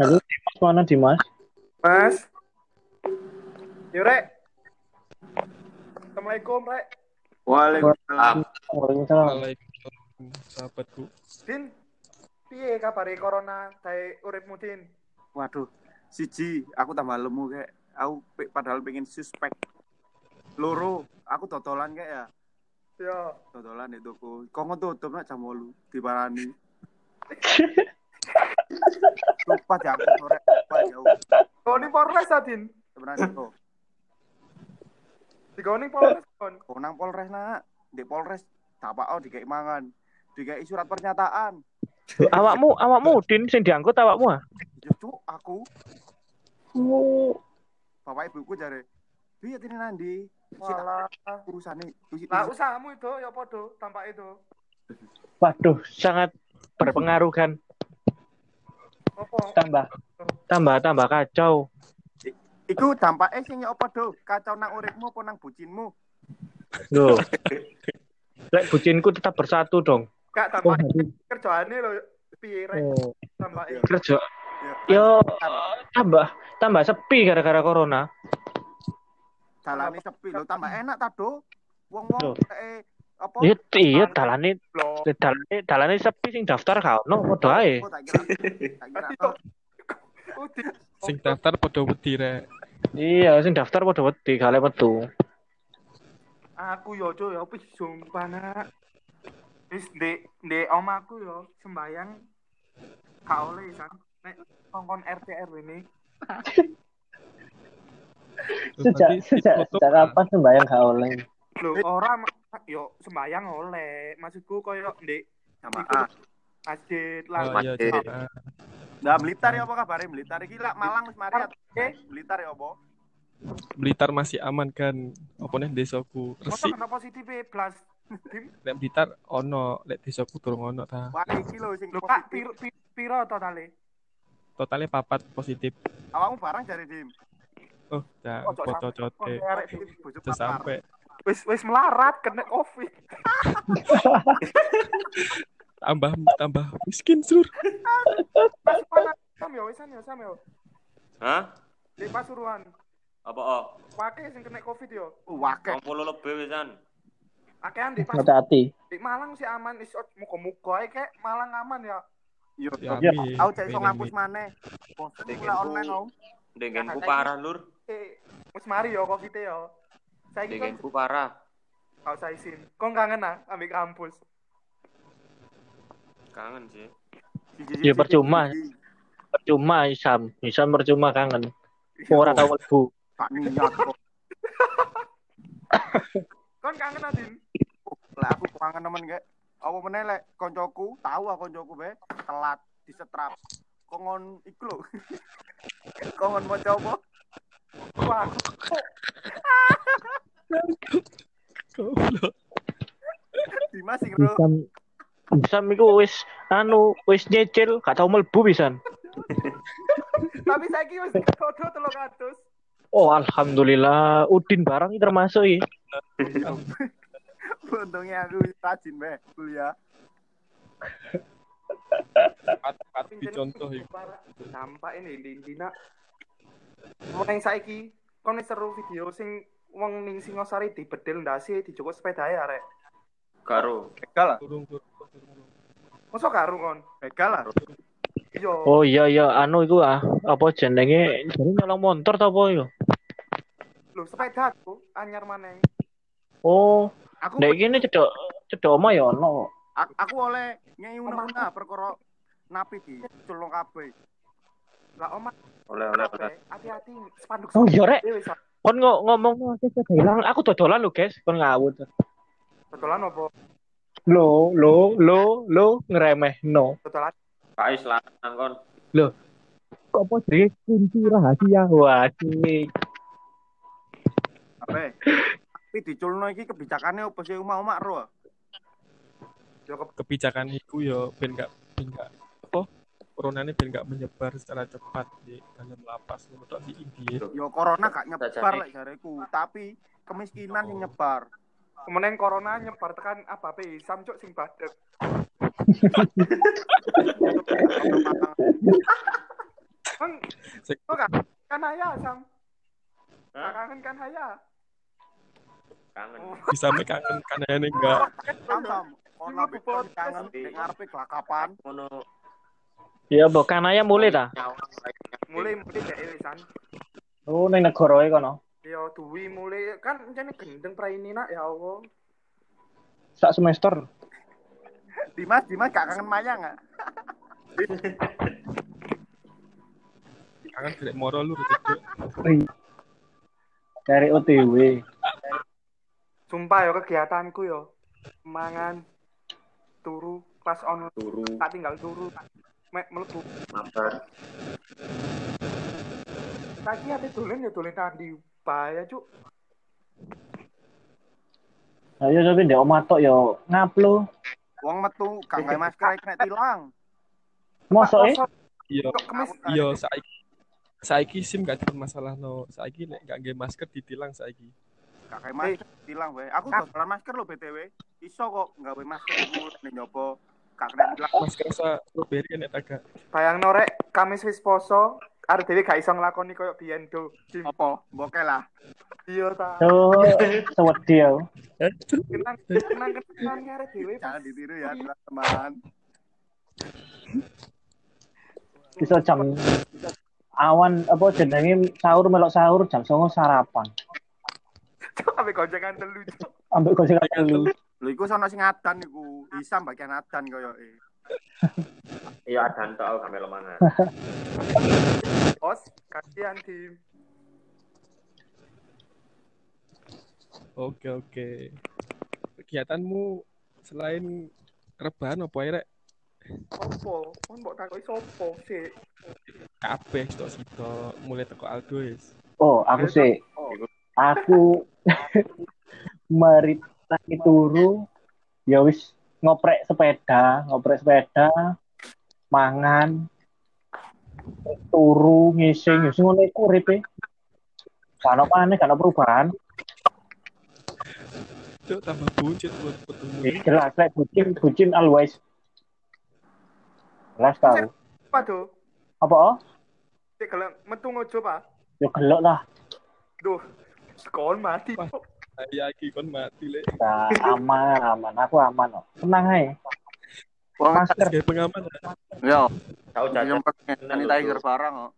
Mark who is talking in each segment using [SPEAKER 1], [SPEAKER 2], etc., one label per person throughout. [SPEAKER 1] Halo, Dimas mana Dimas?
[SPEAKER 2] Mas. Yuk, Rek. Assalamualaikum, Rek.
[SPEAKER 3] Waalaikumsalam.
[SPEAKER 1] Waalaikumsalam.
[SPEAKER 4] Waalaikumsalam sahabatku.
[SPEAKER 2] Din. Piye kabare corona dae uripmu, Din?
[SPEAKER 3] Waduh, siji aku tambah lemu kayak aku pe- padahal pengen suspek. Loro, aku totolan kayak ya.
[SPEAKER 2] Yo.
[SPEAKER 3] Totolan di toko. Kongo tutup nak jam 8 diparani. Lupa ya aku sore, lupa jauh.
[SPEAKER 2] Digoni Polres ta, Din?
[SPEAKER 3] Sebenarnya kok.
[SPEAKER 2] Digoni Polres kon.
[SPEAKER 3] Kau nang Polres nak, di Polres dapat oh dikai mangan, dikai surat pernyataan.
[SPEAKER 5] awakmu awakmu Din sing diangkut awakmu ah?
[SPEAKER 3] Justru aku bapak ibuku jare piye tini nandi sik
[SPEAKER 2] Walah.
[SPEAKER 3] urusane wis-
[SPEAKER 2] Lah
[SPEAKER 3] wis-
[SPEAKER 2] usahamu itu ya padha tampak itu.
[SPEAKER 5] Waduh, sangat berpengaruh kan.
[SPEAKER 2] Apa?
[SPEAKER 1] Tambah.
[SPEAKER 5] Tambah tambah kacau.
[SPEAKER 3] iku dampake eh, sing ya apa do kacau nang uripmu apa nang bucinmu
[SPEAKER 5] Loh. Lek bucinku tetap bersatu dong.
[SPEAKER 2] Gak
[SPEAKER 5] Oh,
[SPEAKER 2] tampak kerjaane lho piye, Rek?
[SPEAKER 5] oh.
[SPEAKER 2] Tambake.
[SPEAKER 5] kerja. Yo
[SPEAKER 3] Ya, tam-
[SPEAKER 5] tambah tambah sepi gara-gara corona.
[SPEAKER 3] dalane sepi lho tambah enak ta do wong-wong
[SPEAKER 5] Loh.
[SPEAKER 3] eh apa
[SPEAKER 5] Iya, iya dalane
[SPEAKER 2] Loh.
[SPEAKER 5] dalane dalane sepi sing daftar kau. No, padha ae.
[SPEAKER 3] Oh, tak kira tak kira
[SPEAKER 2] Tapi
[SPEAKER 3] tau.
[SPEAKER 2] kok- Udin.
[SPEAKER 4] Sing daftar podo wedi rek.
[SPEAKER 5] Iya, sing daftar padha wedi gale metu.
[SPEAKER 2] Aku yo cuk yo wis sumpah nak. Wis ndek ndek omaku yo sembayang gak oleh kan. Nek kongkon RT RW ini
[SPEAKER 4] Terus nanti
[SPEAKER 1] Sejak sejak
[SPEAKER 4] ditutup,
[SPEAKER 1] sejak
[SPEAKER 4] Mas.
[SPEAKER 1] kapan sembahyang gak oleh?
[SPEAKER 2] lho ora ma- yo sembayang oleh. Maksudku koyo ndek
[SPEAKER 3] jamaah
[SPEAKER 2] masjid
[SPEAKER 4] Oh,
[SPEAKER 2] lah.
[SPEAKER 4] iya,
[SPEAKER 3] Mas.
[SPEAKER 4] jamaah.
[SPEAKER 3] nah militar ya apa kabare militar iki lak Malang wis mari
[SPEAKER 2] Eh,
[SPEAKER 4] Iya,
[SPEAKER 3] militar ya apa
[SPEAKER 4] Blitar masih aman kan. Apa nih desaku?
[SPEAKER 2] masa
[SPEAKER 4] Resik
[SPEAKER 2] kena positif eh, blas.
[SPEAKER 4] lek Blitar ono, lek desaku durung ono ta.
[SPEAKER 3] wah iki lho sing
[SPEAKER 2] Lho Kak
[SPEAKER 3] positif.
[SPEAKER 2] piro piro, piro totale?
[SPEAKER 4] Totalnya papat positif.
[SPEAKER 3] awakmu barang jare dim
[SPEAKER 4] Oh, dah
[SPEAKER 2] Ojo
[SPEAKER 4] podo
[SPEAKER 2] sampe.
[SPEAKER 5] Eh.
[SPEAKER 4] cote.
[SPEAKER 2] Ojo arek Dim.
[SPEAKER 3] bojo
[SPEAKER 4] Terus sampai
[SPEAKER 2] Wis wis melarat kena covid.
[SPEAKER 4] tambah tambah miskin sur.
[SPEAKER 2] Pasuruan sam yo wisan yo sam yo.
[SPEAKER 6] Hah?
[SPEAKER 2] Di Pasuruan.
[SPEAKER 6] Apa oh?
[SPEAKER 2] Pakai sing kena covid yo.
[SPEAKER 3] wakil
[SPEAKER 6] Wong puluh lebih wisan.
[SPEAKER 2] Akean di Pasuruan.
[SPEAKER 1] Hati-hati.
[SPEAKER 2] Di Malang sih aman is muka-muka ae kek Malang aman ya.
[SPEAKER 3] yo
[SPEAKER 4] Ya,
[SPEAKER 1] Ya,
[SPEAKER 4] amin.
[SPEAKER 3] aku cek iso
[SPEAKER 4] Amin,
[SPEAKER 3] ngapus
[SPEAKER 4] amin.
[SPEAKER 3] maneh bosen
[SPEAKER 6] Dek,
[SPEAKER 3] kuliah
[SPEAKER 6] aku-
[SPEAKER 3] online aku
[SPEAKER 6] Dengenku parah lur.
[SPEAKER 2] Eh, wis mari yo covid yo. Saiki
[SPEAKER 4] Iya,
[SPEAKER 2] kan
[SPEAKER 6] Dengenku parah.
[SPEAKER 2] gak usah izin. Kon kangen ah ambek kampus.
[SPEAKER 6] Kangen sih.
[SPEAKER 5] Ya, percuma. Percuma Isam, Isam percuma kangen. Ora tau mlebu.
[SPEAKER 3] Tak niat kok.
[SPEAKER 2] Kon kangen Adin.
[SPEAKER 3] Lah aku kangen temen gak. Apa meneh lek koncoku, tahu aku koncoku be telat disetrap. Kongon iku lho. Kongon mau coba.
[SPEAKER 2] Wah,
[SPEAKER 4] Goblok.
[SPEAKER 3] Dimas sing ro.
[SPEAKER 5] Isam Isam iku wis anu wis nyecil gak tau mlebu pisan.
[SPEAKER 2] tapi saiki wis kodo 300.
[SPEAKER 5] Oh, alhamdulillah Udin barang iki termasuk iki.
[SPEAKER 3] Untungnya aku rajin be kuliah.
[SPEAKER 4] Papat dicontoh yuk.
[SPEAKER 2] Nampak ini Dindina. Wong yang saiki kon wis seru video sing wong ning Singosari dibedil ndase dijukuk sepedae arek.
[SPEAKER 6] Karo.
[SPEAKER 3] Begal lah.
[SPEAKER 4] Turung turung turung.
[SPEAKER 2] Mosok karo kon.
[SPEAKER 3] Begal lah.
[SPEAKER 2] Yo,
[SPEAKER 5] Oh iya iya anu iku ah apa jenenge jadi nyolong motor ta apa yo.
[SPEAKER 2] lho sepeda aku anyar maneng.
[SPEAKER 5] Oh,
[SPEAKER 3] Aku
[SPEAKER 5] nek kene cedok cedok oma ya ono.
[SPEAKER 3] a- aku oleh ngeuna-una perkara napi di culung kabeh.
[SPEAKER 2] Lah omah
[SPEAKER 6] Oleh oleh oleh.
[SPEAKER 2] hati-hati spanduk.
[SPEAKER 5] Oh iya rek,
[SPEAKER 2] Dewe sa-
[SPEAKER 5] kon ngo- ngomong aku cedok hilang, aku dodolan lho guys, kon ngawut.
[SPEAKER 2] Dodolan opo?
[SPEAKER 5] Lo lo lo lo ngeremeh no.
[SPEAKER 2] Dodolan.
[SPEAKER 6] Kais lanang kon.
[SPEAKER 5] Kok apa jenenge kunci rahasia? Waduh.
[SPEAKER 3] Kabeh. Tapi diculno iki kebijakannya opo sih umak-umak ro.
[SPEAKER 2] Yo ke-
[SPEAKER 4] Kebijakan itu yo ben gak ben gak apa? Coronanya ben gak menyebar secara cepat di dalam lapas menurut si India.
[SPEAKER 3] Yo corona gak nyebar
[SPEAKER 6] Sajane.
[SPEAKER 3] lek jareku, tapi kemiskinan yang nyebar.
[SPEAKER 2] Kemudian corona nyebar tekan apa pe Isam cuk sing badek. Bang,
[SPEAKER 4] Sik.
[SPEAKER 2] kok kan kan haya Sam.
[SPEAKER 6] Hah?
[SPEAKER 2] Kangen kan haya.
[SPEAKER 6] kangen
[SPEAKER 4] Bisa me kangen kanannya ini enggak.
[SPEAKER 3] Kan Sam-sam, corona Bitcoin kangen, di ngarepe kelakapan.
[SPEAKER 6] ngono
[SPEAKER 7] Ya mbok kanaya mulai ta.
[SPEAKER 6] nyawa
[SPEAKER 2] Mulai mulai dari Sam.
[SPEAKER 5] Oh, neng negara iki kono.
[SPEAKER 2] Ya duwi mulai kan jane gendeng praini nak ya Allah.
[SPEAKER 5] Sak semester.
[SPEAKER 3] Dimas, Dimas gak kangen Maya nggak?
[SPEAKER 4] Kangen tidak moro lur cedek.
[SPEAKER 5] Dari OTW.
[SPEAKER 2] Sumpah ya kegiatanku ya. Mangan turu kelas online
[SPEAKER 6] turu
[SPEAKER 2] tak tinggal turu. Mek mlebu.
[SPEAKER 6] mabar
[SPEAKER 2] Tadi ate dolen ya dolen tadi. Bahaya cuk.
[SPEAKER 5] Ayo tapi ndek omah tok yo ngaplu.
[SPEAKER 3] Wong metu, gak nggak masker, kena tilang.
[SPEAKER 5] Mosok e?
[SPEAKER 4] Iya.
[SPEAKER 2] Kok kemis
[SPEAKER 4] Iya saiki saiki SIM gak dipermasalah no. Saiki nek gak nggih masker ditilang saiki.
[SPEAKER 3] Gak kayak masker, tilang weh. Aku dodolan masker lo BTW. Iso kok gak pakai masker aku nih nyoba. Gak kena tilang.
[SPEAKER 4] Masker sa strawberry kan nek agak.
[SPEAKER 2] Bayang norek Kamis wis poso, arep dhewe gak iso nglakoni koyo biyen do.
[SPEAKER 3] Apa? Bokeh lah.
[SPEAKER 2] Iya ta.
[SPEAKER 5] Yo sewedi yo.
[SPEAKER 2] Kenang kenang kenang arep dhewe.
[SPEAKER 3] Jangan ditiru ya teman-teman.
[SPEAKER 5] Bisa jam awan apa jenenge sahur melok sahur jam 09.00 sarapan.
[SPEAKER 2] Cuk ape goncengan telu cuk.
[SPEAKER 5] Ambek kosek telu.
[SPEAKER 3] Lho iku sono sing adan iku. Isam bagian adan koyo e.
[SPEAKER 6] iya adan tok aku gak melu mangan
[SPEAKER 2] Os, kasihan tim.
[SPEAKER 4] Oke oke. Kegiatanmu selain rebahan apa ya rek?
[SPEAKER 2] Sopo? Kon mbok takoki sopo sik?
[SPEAKER 4] Kabeh sitok-sitok mulai teko Aldo wis.
[SPEAKER 5] Oh, aku sih. Aku merit lagi turu. Ya wis ngoprek sepeda, ngoprek sepeda, mangan, turu, ngising, ngising ngono iku uripe. Kan apa aneh, kan perubahan.
[SPEAKER 4] Cuk tambah buncit buat ketemu.
[SPEAKER 5] Eh, jelas lek bucin, bucin always. Jelas tau.
[SPEAKER 2] Apa do?
[SPEAKER 5] Apa? oh?
[SPEAKER 2] Sik gelem metu ngojo, Pak.
[SPEAKER 5] Ya gelok lah.
[SPEAKER 2] Duh. Kon mati.
[SPEAKER 4] Wah.
[SPEAKER 2] Cuk.
[SPEAKER 4] Ya iki kon mati lek.
[SPEAKER 5] Nah, aman, aman. Aku aman kok. Tenang ae. Masker.
[SPEAKER 4] Sebagai pengaman
[SPEAKER 3] Yo,
[SPEAKER 6] tau jajan
[SPEAKER 3] sanitizer barang kok.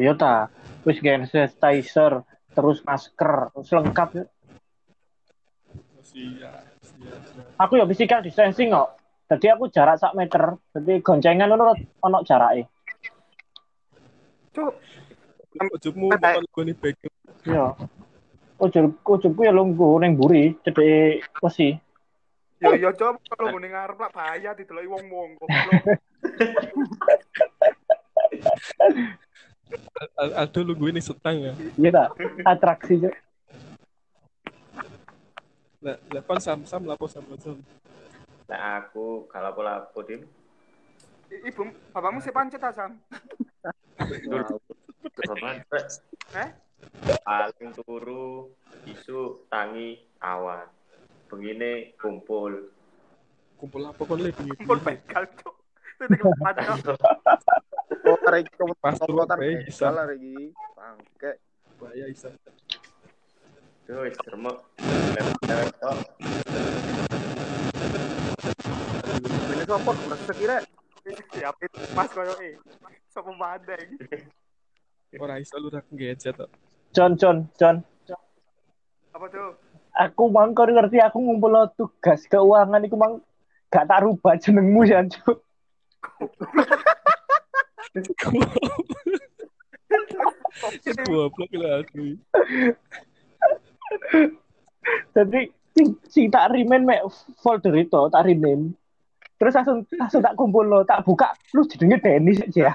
[SPEAKER 5] Iya ta. Wis hand sanitizer, terus masker, terus lengkap.
[SPEAKER 4] Oh, Siap, siap.
[SPEAKER 5] Aku ya physical distancing kok. Jadi aku jarak sak meter. Jadi goncengan ngono ono jarake.
[SPEAKER 2] Cuk,
[SPEAKER 4] Ujungmu bukan gue nih bekel.
[SPEAKER 5] Iya. Ujul ujulku ya lungguh ning mburi, cedheke wesi.
[SPEAKER 2] yo yo cuk kalau muni ngarep lah bahaya dideloki wong-wong goblok.
[SPEAKER 4] Al- Aldo lu gue nih setang ya.
[SPEAKER 5] Iya ta. Atraksi Cuk.
[SPEAKER 4] Lah, lah kon sam-sam lapo sam-sam.
[SPEAKER 6] Lah aku gak lapo-lapo dim
[SPEAKER 2] I- Ibu, bapakmu sik pancet ta, Sam?
[SPEAKER 6] Tur. Tur apaan, Rek?
[SPEAKER 2] Eh?
[SPEAKER 6] paling turu isu tangi awan begini kumpul
[SPEAKER 4] Kumpul apa kon lek bengi.
[SPEAKER 2] Kumpul begal, Cuk. Itu tinggal pancet.
[SPEAKER 3] Kota iki
[SPEAKER 4] Pas turun bayi bisa.
[SPEAKER 3] salah iki. Bangke.
[SPEAKER 4] Bahaya bisa.
[SPEAKER 6] Duh, wis remek. Lewat-lewat tok.
[SPEAKER 3] Ini sopo gresek iki rek.
[SPEAKER 2] Ya, Mas koyo e. Sopo bandeng.
[SPEAKER 4] Ora iso lu rak ngejet tok.
[SPEAKER 5] John John John.
[SPEAKER 2] Apa tuh?
[SPEAKER 5] Aku mang kon ngerti aku ngumpul tugas keuangan iku mang gak tak rubah jenengmu ya Cuk.
[SPEAKER 4] Goblok lah aku.
[SPEAKER 5] Jadi sing, sing tak remain mek folder itu tak remain. Terus langsung langsung tak kumpul lo, tak buka, lu jenenge Dennis aja. ya.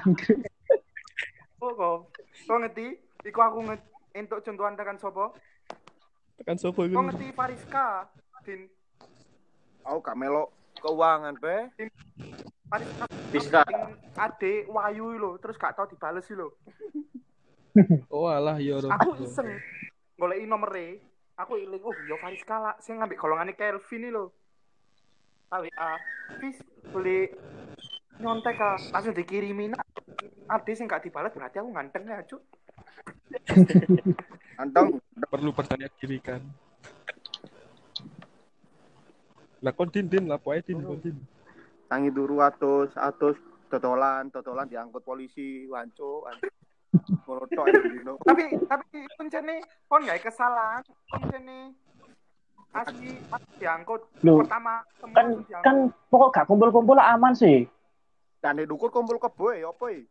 [SPEAKER 2] Oh, kok. Kok ngerti? Iku aku ngerti. Entuk contohan tekan sopo?
[SPEAKER 4] Tekan
[SPEAKER 2] Kok
[SPEAKER 4] sopo iku?
[SPEAKER 2] ngerti Fariska? Din
[SPEAKER 3] Aku gak melo keuangan be.
[SPEAKER 2] Fariska
[SPEAKER 6] Fiska.
[SPEAKER 2] sing ade Wayu lho, terus gak tau dibales lho.
[SPEAKER 4] Oh alah ya ora.
[SPEAKER 2] Aku iseng goleki nomere. aku iling uh yo Faris kalah sing ngambil golongane Kelvin iki lho tapi ah Fis boleh nyontek ah langsung dikirimin ah. ade sing gak dibalas berarti aku nganteng ya cuk
[SPEAKER 3] Antong,
[SPEAKER 4] perlu percaya diri kan lah kon din din lah poe din kon din
[SPEAKER 3] tangi turu atus, atus totolan, totolan diangkut polisi, wancu, wancu. Ngono tok ya, Dino.
[SPEAKER 2] tapi tapi pencene kon gak kesalahan pencene asli asli diangkut
[SPEAKER 5] Loh,
[SPEAKER 2] pertama temu
[SPEAKER 5] kan
[SPEAKER 2] diangkut.
[SPEAKER 5] kan pokok gak kumpul-kumpul lah aman sih
[SPEAKER 3] Tane dukur kumpul kebo ya apa ya?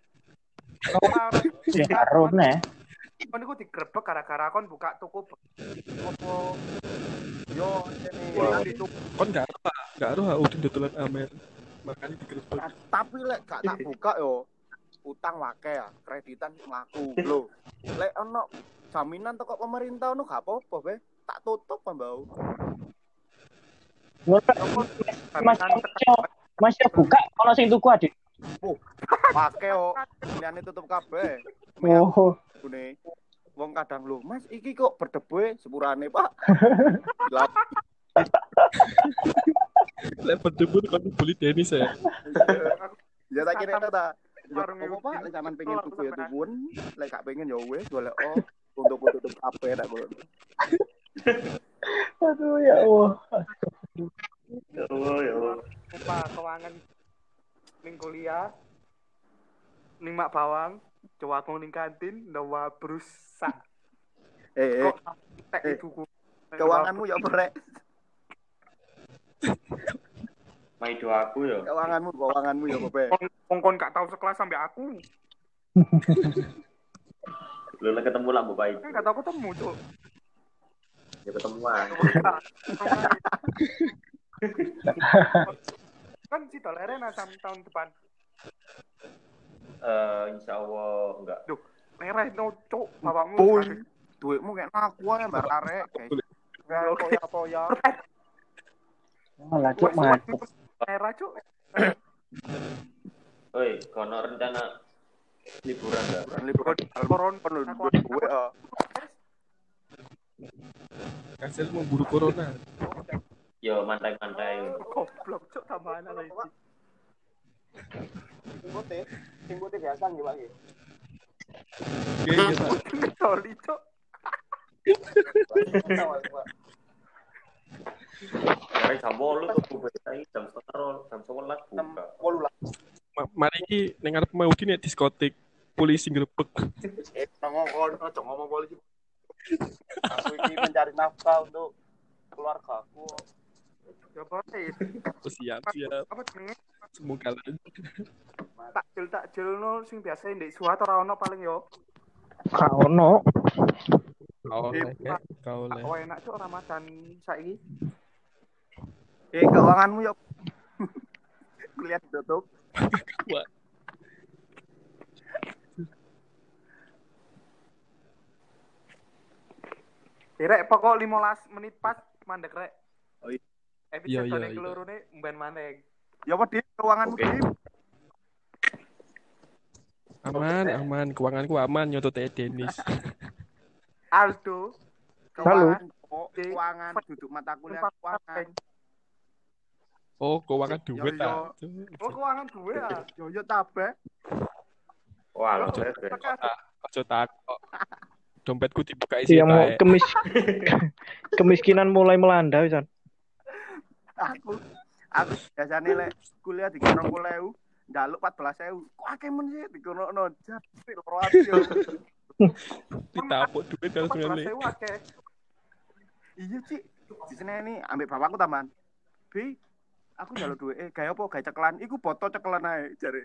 [SPEAKER 5] ya karo neh
[SPEAKER 2] kon iku digrebek gara-gara kon buka toko opo
[SPEAKER 3] Yo, ini.
[SPEAKER 4] Wah.
[SPEAKER 3] Tane dukur.
[SPEAKER 4] kon gak apa gak aruh ah udin dodolan amer makanya digerebek
[SPEAKER 3] Ta- Nah, Tapi lek gak tak buka yo utang wake ya, kreditan laku lho. Lek ono jaminan teko pemerintah ono gak apa-apa be. Tak tutup pembau.
[SPEAKER 5] kan masih masih buka kalau sing tuku adit
[SPEAKER 3] Wake yo, liane tutup kabeh. Meyak
[SPEAKER 5] oh
[SPEAKER 3] bune. Wong kadang lho, Mas iki kok berdebu e? sepurane, Pak. Lah,
[SPEAKER 4] lek berdebut kon beli Dennis ya
[SPEAKER 3] Ya tak kira itu ta. Ya,
[SPEAKER 2] Warung
[SPEAKER 3] Apa
[SPEAKER 2] Udin.
[SPEAKER 3] pak, lek sampean pengen
[SPEAKER 2] Telur
[SPEAKER 3] tuku ya
[SPEAKER 2] sampean.
[SPEAKER 3] tukun, lek gak pengen ya wes golek oh untuk tutup apa tak boleh.
[SPEAKER 5] aduh ya allah
[SPEAKER 6] Ya Allah, ya Allah.
[SPEAKER 2] lupa kewangan ning kuliah ning mak bawang cowokku ning kantin ndawa berusak
[SPEAKER 3] Eh, eh
[SPEAKER 2] kok tek
[SPEAKER 3] eh.
[SPEAKER 2] ibuku
[SPEAKER 3] keuanganmu ya berek,
[SPEAKER 6] Maido aku ya.
[SPEAKER 3] keuanganmu, keuanganmu ya bebe.
[SPEAKER 2] kongkon gak tau sekelas sampai aku
[SPEAKER 6] Lu lah ketemu lah Bapak Ibu.
[SPEAKER 2] kan gak tau ketemu cuk
[SPEAKER 6] Ya ketemuan.
[SPEAKER 2] kan si tolerena sam tahun depan
[SPEAKER 6] Eh, insya Allah enggak.
[SPEAKER 2] merah no cuk bapakmu
[SPEAKER 3] Boy, duitmu kayak aku ya mbak arek. Kayak
[SPEAKER 2] Oke.
[SPEAKER 3] toya toya.
[SPEAKER 5] malah
[SPEAKER 2] Wes,
[SPEAKER 5] cuk mati
[SPEAKER 2] wes, merah cuk
[SPEAKER 6] Oi, kono rencana liburan enggak?
[SPEAKER 3] Bukan liburan,
[SPEAKER 2] koron
[SPEAKER 3] kan lu
[SPEAKER 2] aku-
[SPEAKER 3] duit gue. eh.
[SPEAKER 4] hasil memburu corona
[SPEAKER 6] Yo mantai-mantai.
[SPEAKER 2] goblok cuk tambahan lagi
[SPEAKER 3] Singgote, singgote biasa nggih pak.
[SPEAKER 4] iya iya Pak.
[SPEAKER 2] kecuali cuk
[SPEAKER 6] Mari jam 8 tuku benteng jam setengah rol, jam 11 buka.
[SPEAKER 4] Ma- mari ki ning arep mau udin ya diskotik polisi grebek
[SPEAKER 3] Eh, ngomong ngomong, ojo ngomong polisi. Aku ini mencari nafkah untuk keluarga aku.
[SPEAKER 2] ya boleh
[SPEAKER 4] siap siap
[SPEAKER 2] apa jenenge
[SPEAKER 4] semoga lancar
[SPEAKER 2] takjil takjil no sing biasa ndek suat ora ono paling yo
[SPEAKER 5] gak ono
[SPEAKER 4] kau oleh Kak. kau oleh
[SPEAKER 2] oh enak cuk ramadan saiki
[SPEAKER 3] Eh, keuanganmu ya. Kuliah tutup.
[SPEAKER 2] direk pokok 15 menit pas mandek rek
[SPEAKER 3] Oh iya.
[SPEAKER 2] episode
[SPEAKER 4] Iya, iya,
[SPEAKER 2] ning
[SPEAKER 4] iya.
[SPEAKER 2] kelorone mben maneh
[SPEAKER 3] Ya apa Dim? keuanganmu
[SPEAKER 6] Oke.
[SPEAKER 3] Dim?
[SPEAKER 4] aman aman keuanganku aman nyotot eh Dennis
[SPEAKER 2] Aldo
[SPEAKER 3] Keuangan, kok.
[SPEAKER 2] Dim.
[SPEAKER 3] keuangan duduk mata kuliah
[SPEAKER 2] numpak
[SPEAKER 3] keuangan.
[SPEAKER 2] kapten.
[SPEAKER 4] oh keuangan duit
[SPEAKER 3] Yo, yo.
[SPEAKER 4] ah
[SPEAKER 2] Oh keuangan duwe ah.
[SPEAKER 3] Yo yo tabe.
[SPEAKER 6] Wah, lu
[SPEAKER 2] Cuk,
[SPEAKER 6] bebek.
[SPEAKER 2] tekan.
[SPEAKER 4] ojo takok dompetku dibuka isi
[SPEAKER 7] Iya mau
[SPEAKER 4] tae.
[SPEAKER 7] kemis kemiskinan mulai melanda wisan.
[SPEAKER 3] Aku aku biasanya lek kuliah di kono kuliah njaluk 14.000. Kok akeh men sih di kono no jati loro ati yo.
[SPEAKER 4] ditapuk duit kalau
[SPEAKER 2] Empat belas
[SPEAKER 4] sebenarnya
[SPEAKER 2] sewu akeh.
[SPEAKER 3] Iya, Ci. Di sini ini ambek bapakku taman. Bi, aku njaluk duit eh gaya apa gaya cekelan iku boto cekelan ae jare.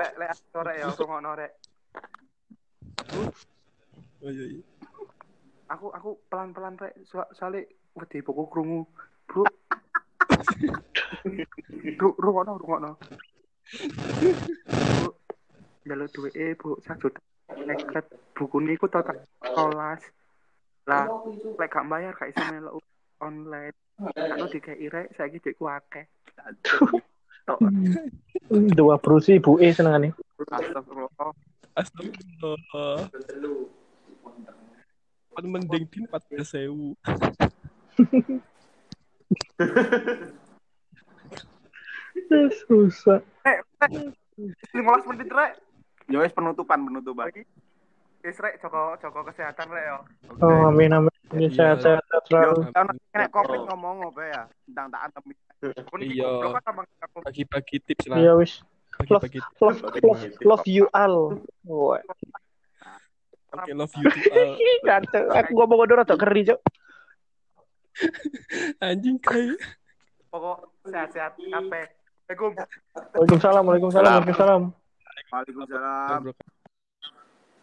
[SPEAKER 2] Lek lek sore ya aku ngono rek.
[SPEAKER 4] Oh, iya, iya.
[SPEAKER 2] Aku aku pelan-pelan rek so- soalnya wedi pokok krungu. Bro. Bro, rungono, rungono. Bu, jalur duwe e, bu, sak juta. Neket, buku ini ku total kelas. Lah, lek gak bayar, gak iso melu online. Aku dikei rek, saiki duitku akeh.
[SPEAKER 7] Dua brusi ibu E senengane.
[SPEAKER 3] Astagfirullah.
[SPEAKER 4] Astagfirullah. Paling mending din 14.000.
[SPEAKER 7] Rusak.
[SPEAKER 2] lima belas menit rek
[SPEAKER 3] Ya wis penutupan penutupan.
[SPEAKER 2] Wis rek Joko Joko kesehatan rek ya. yo
[SPEAKER 3] Oke.
[SPEAKER 7] Oh, amin amin. Ini
[SPEAKER 4] Iya.
[SPEAKER 7] sehat-sehat selalu.
[SPEAKER 3] Yo, tahun ini nek Covid ngomong apa ya? Tentang tak pandemi.
[SPEAKER 2] Kon iki
[SPEAKER 4] Iya.
[SPEAKER 2] goblok kan tambah-
[SPEAKER 4] Bagi-bagi tips lah.
[SPEAKER 7] Iya wis.
[SPEAKER 4] Bagi-bagi tips.
[SPEAKER 5] Love, love, love you all. Wah,
[SPEAKER 4] Oke, love you to all.
[SPEAKER 5] kacau. Aku ngomong ngono rada keri, Cuk.
[SPEAKER 4] Anjing kayak.
[SPEAKER 2] pokok sehat-sehat kabeh Assalamualaikum
[SPEAKER 7] Waalaikumsalam, waalaikumsalam, waalaikumsalam.
[SPEAKER 3] Waalaikumsalam.